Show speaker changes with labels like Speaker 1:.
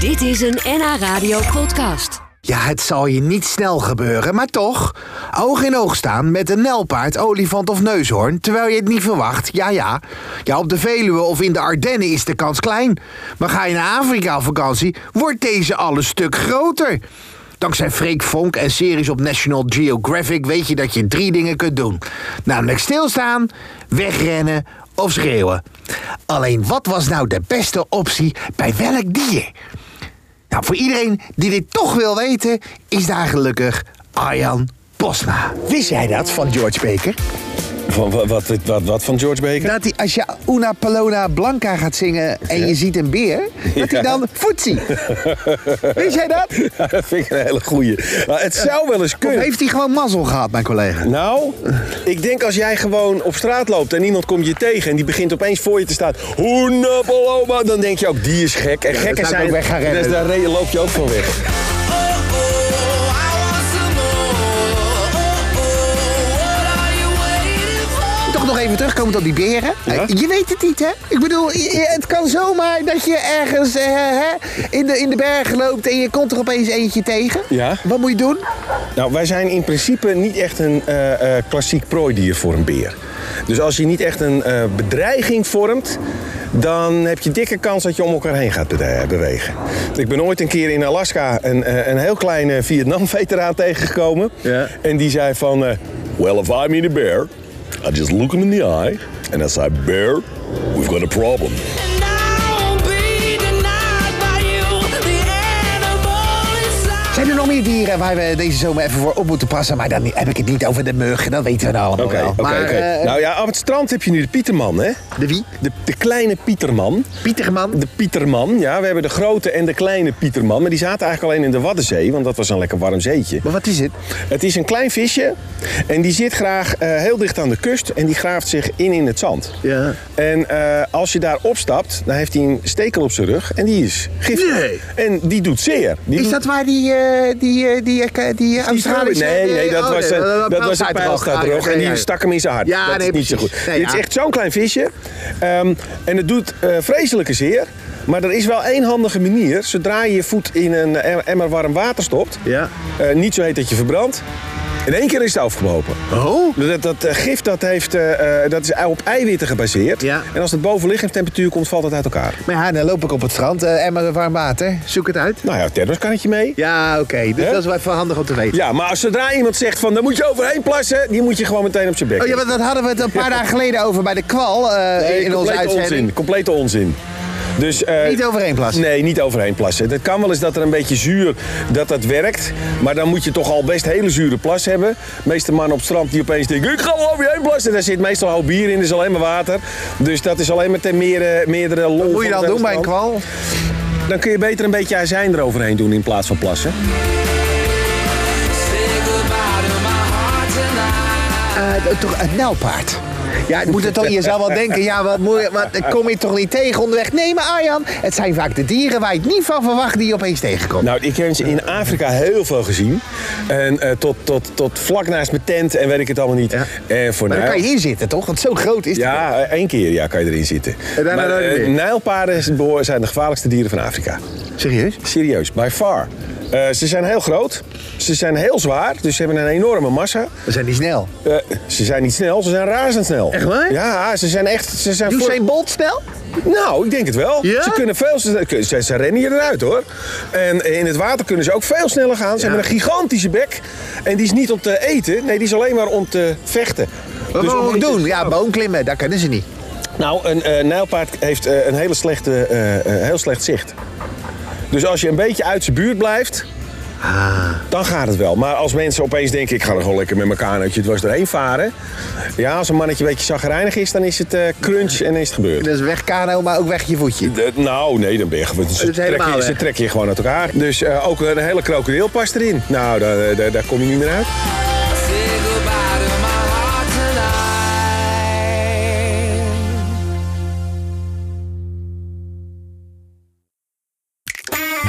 Speaker 1: Dit is een NH Radio podcast.
Speaker 2: Ja, het zal je niet snel gebeuren, maar toch. Oog in oog staan met een nelpaard, olifant of neushoorn, terwijl je het niet verwacht. Ja, ja. Ja, op de Veluwe of in de Ardennen is de kans klein. Maar ga je naar Afrika op vakantie, wordt deze al een stuk groter. Dankzij Freek Vonk en series op National Geographic weet je dat je drie dingen kunt doen. Namelijk stilstaan, wegrennen of schreeuwen. Alleen wat was nou de beste optie bij welk dier? Nou, voor iedereen die dit toch wil weten, is daar gelukkig Arjan Posma. Wist jij dat van George Baker?
Speaker 3: Van, wa- wat, wat, wat, van George Baker?
Speaker 2: Dat hij, als je Una Palona Blanca gaat zingen en je ziet een beer, dat hij
Speaker 3: Ja.
Speaker 2: dan voetsie. Wist jij dat?
Speaker 3: Ja, dat vind ik een hele goeie. Maar het zou wel eens
Speaker 2: Nou. Of
Speaker 3: kunnen.
Speaker 2: heeft hij gewoon mazzel gehad, mijn collega?
Speaker 3: Nou, ik denk als jij gewoon op straat loopt en iemand komt je tegen en die begint opeens voor je te staan. Hoena Paloma, dan denk je ook die is gek. En gekken
Speaker 2: zou ik
Speaker 3: zijn.
Speaker 2: ook weg gaan rennen.
Speaker 3: Dus daar re- loop je ook van weg.
Speaker 2: Toch nog even terugkomen op die beren. Eh,
Speaker 3: Ja.
Speaker 2: Je weet het niet, hè? Ik bedoel, je- het kan zomaar dat je ergens eh, hè, in, de, in de bergen loopt en je komt er opeens eentje tegen.
Speaker 3: Ja.
Speaker 2: Wat moet je doen?
Speaker 3: Nou, wij zijn in principe niet echt een eh, eh, klassiek prooidier voor een beer. Dus als je niet echt een eh, bedreiging vormt, dan heb je dikke kans dat je om elkaar heen gaat bede- bewegen. Ik ben ooit een keer in Alaska een, eh, een heel kleine Vietnam-veteraan tegengekomen.
Speaker 2: Ja.
Speaker 3: En die zei van, eh, well if I meet a bear, I just look him in the eye. And I say, bear, we've got a problem.
Speaker 2: Zijn er nog meer dieren waar we deze zomer even voor op moeten passen? Maar dan heb ik het niet over de muggen, dat weten we nou allemaal
Speaker 3: Oké,
Speaker 2: wel.
Speaker 3: oké,
Speaker 2: maar
Speaker 3: oké.
Speaker 2: eh,
Speaker 3: Nou ja, op het strand heb je nu de Pieterman, hè?
Speaker 2: de wie?
Speaker 3: De, de kleine Pieterman.
Speaker 2: Pieterman.
Speaker 3: De Pieterman, ja. We hebben de grote en de kleine Pieterman. Maar die zaten eigenlijk alleen in de Waddenzee, want dat was een lekker warm zeetje.
Speaker 2: Maar wat is het?
Speaker 3: Het is een klein visje en die zit graag eh, heel dicht aan de kust en die graaft zich in in het zand.
Speaker 2: Ja.
Speaker 3: En eh, als je daar opstapt, dan heeft hij een stekel op zijn rug en die is giftig.
Speaker 2: Nee.
Speaker 3: En die doet zeer. Die
Speaker 2: Is
Speaker 3: doet-
Speaker 2: dat waar die, eh die, eh, die, eh, die eh, Australische...
Speaker 3: Nee, nee,
Speaker 2: eh,
Speaker 3: dat
Speaker 2: oh,
Speaker 3: was een,
Speaker 2: eh,
Speaker 3: dat was een
Speaker 2: Ah,
Speaker 3: pijlstaartrog.
Speaker 2: ja,
Speaker 3: En
Speaker 2: ja,
Speaker 3: die
Speaker 2: ja.
Speaker 3: stak hem in zijn hart.
Speaker 2: Ja,
Speaker 3: dat
Speaker 2: nee,
Speaker 3: is niet zo
Speaker 2: precies.
Speaker 3: goed.
Speaker 2: Nee,
Speaker 3: Dit is
Speaker 2: ja.
Speaker 3: echt zo'n klein visje. Ehm, en het doet eh, vreselijke zeer. Maar er is wel één handige manier. Zodra je je voet in een em- emmer warm water stopt.
Speaker 2: Ja.
Speaker 3: eh, niet zo heet dat je verbrandt. In één keer is het afgelopen.
Speaker 2: Oh?
Speaker 3: Dat, dat eh, gif dat heeft, eh, eh, dat is op eiwitten gebaseerd.
Speaker 2: Ja.
Speaker 3: En als het boven lichaamstemperatuur komt, valt het uit elkaar.
Speaker 2: Maar ja, dan loop ik op het strand, eh, emmer warm water. Zoek het uit.
Speaker 3: Nou ja, thermoskannetje mee.
Speaker 2: Ja, oké. Dus
Speaker 3: Hè?
Speaker 2: dat is wel even handig om te weten.
Speaker 3: Ja, maar als zodra iemand zegt van, daar moet je overheen plassen, die moet je gewoon meteen op zijn bek.
Speaker 2: Oh ja, want dat hadden we het een paar dagen geleden over bij de kwal eh,
Speaker 3: Nee,
Speaker 2: in onze
Speaker 3: complete
Speaker 2: uitzending.
Speaker 3: Onzin, complete onzin. Dus, eh,
Speaker 2: Niet overheen plassen?
Speaker 3: Nee, niet overheen plassen. Het kan wel eens dat er een beetje zuur dat dat werkt. Maar dan moet je toch al best hele zure plas hebben. De meeste mannen op het strand die opeens denken... ik ga wel over je heen plassen. Daar zit meestal al bier in, is alleen maar water. Dus dat is alleen maar ten meerdere, meerdere lol.
Speaker 2: Moet je
Speaker 3: van
Speaker 2: dan
Speaker 3: het
Speaker 2: doen bij een
Speaker 3: strand.
Speaker 2: kwal?
Speaker 3: Dan kun je beter een beetje azijn eroverheen doen in plaats van plassen.
Speaker 2: Eh, toch een nijlpaard. Ja, het moet het toch, je zou wel denken, ja, wat mooi, wat ik kom je toch niet tegen onderweg? Nee, maar Arjan, het zijn vaak de dieren waar je het niet van verwacht die je opeens tegenkomt.
Speaker 3: Nou, ik heb ze in Afrika heel veel gezien. En eh, tot, tot, tot vlak naast mijn tent en weet ik het allemaal niet.
Speaker 2: Ja.
Speaker 3: En
Speaker 2: maar dan
Speaker 3: voor nou, Nijl-
Speaker 2: kan je hier zitten, toch? Want zo groot is het.
Speaker 3: Ja, eh, één keer ja, kan je erin zitten.
Speaker 2: En daarna
Speaker 3: maar,
Speaker 2: nooit
Speaker 3: eh,
Speaker 2: meer.
Speaker 3: Nijlpaarden zijn behoor- zijn de gevaarlijkste dieren van Afrika.
Speaker 2: Serieus?
Speaker 3: Serieus, by far. Eh, ze zijn heel groot, ze zijn heel zwaar, dus ze hebben een enorme massa.
Speaker 2: We zijn niet snel.
Speaker 3: Eh, ze zijn niet snel, ze zijn razendsnel.
Speaker 2: Echt waar?
Speaker 3: Ja, ze zijn echt... Ze zijn voor-
Speaker 2: Usain Bolt snel?
Speaker 3: nou, ik denk het wel.
Speaker 2: Ja?
Speaker 3: Ze kunnen veel ze, ze, ze rennen hier eruit hoor. En in het water kunnen ze ook veel sneller gaan. Ze hebben een gigantische bek. En die is niet om te eten, nee, die is alleen maar om te vechten. Dus
Speaker 2: Wat
Speaker 3: om
Speaker 2: moeten we
Speaker 3: te-
Speaker 2: doen? Ja, boomklimmen, dat kunnen ze niet.
Speaker 3: Nou, een eh nijlpaard heeft eh, een hele slechte, eh, eh, heel slecht zicht. Dus als je een beetje uit zijn buurt blijft,
Speaker 2: Ah.
Speaker 3: dan gaat het wel. Maar als mensen opeens denken, ik ga er gewoon lekker met elkaar uit je dwars doorheen varen. Ja, als een mannetje een beetje chagrijnig is, dan is het eh, crunch en is het gebeurd.
Speaker 2: Dus weg kano, maar ook weg je voetje.
Speaker 3: De- nou, nee, dan ben je gewoon... Ze,
Speaker 2: is helemaal
Speaker 3: trekken je, ze
Speaker 2: weg.
Speaker 3: trekken je gewoon uit elkaar. Dus eh, ook een hele krokodil past erin. Nou, daar, daar, daar kom je niet meer uit.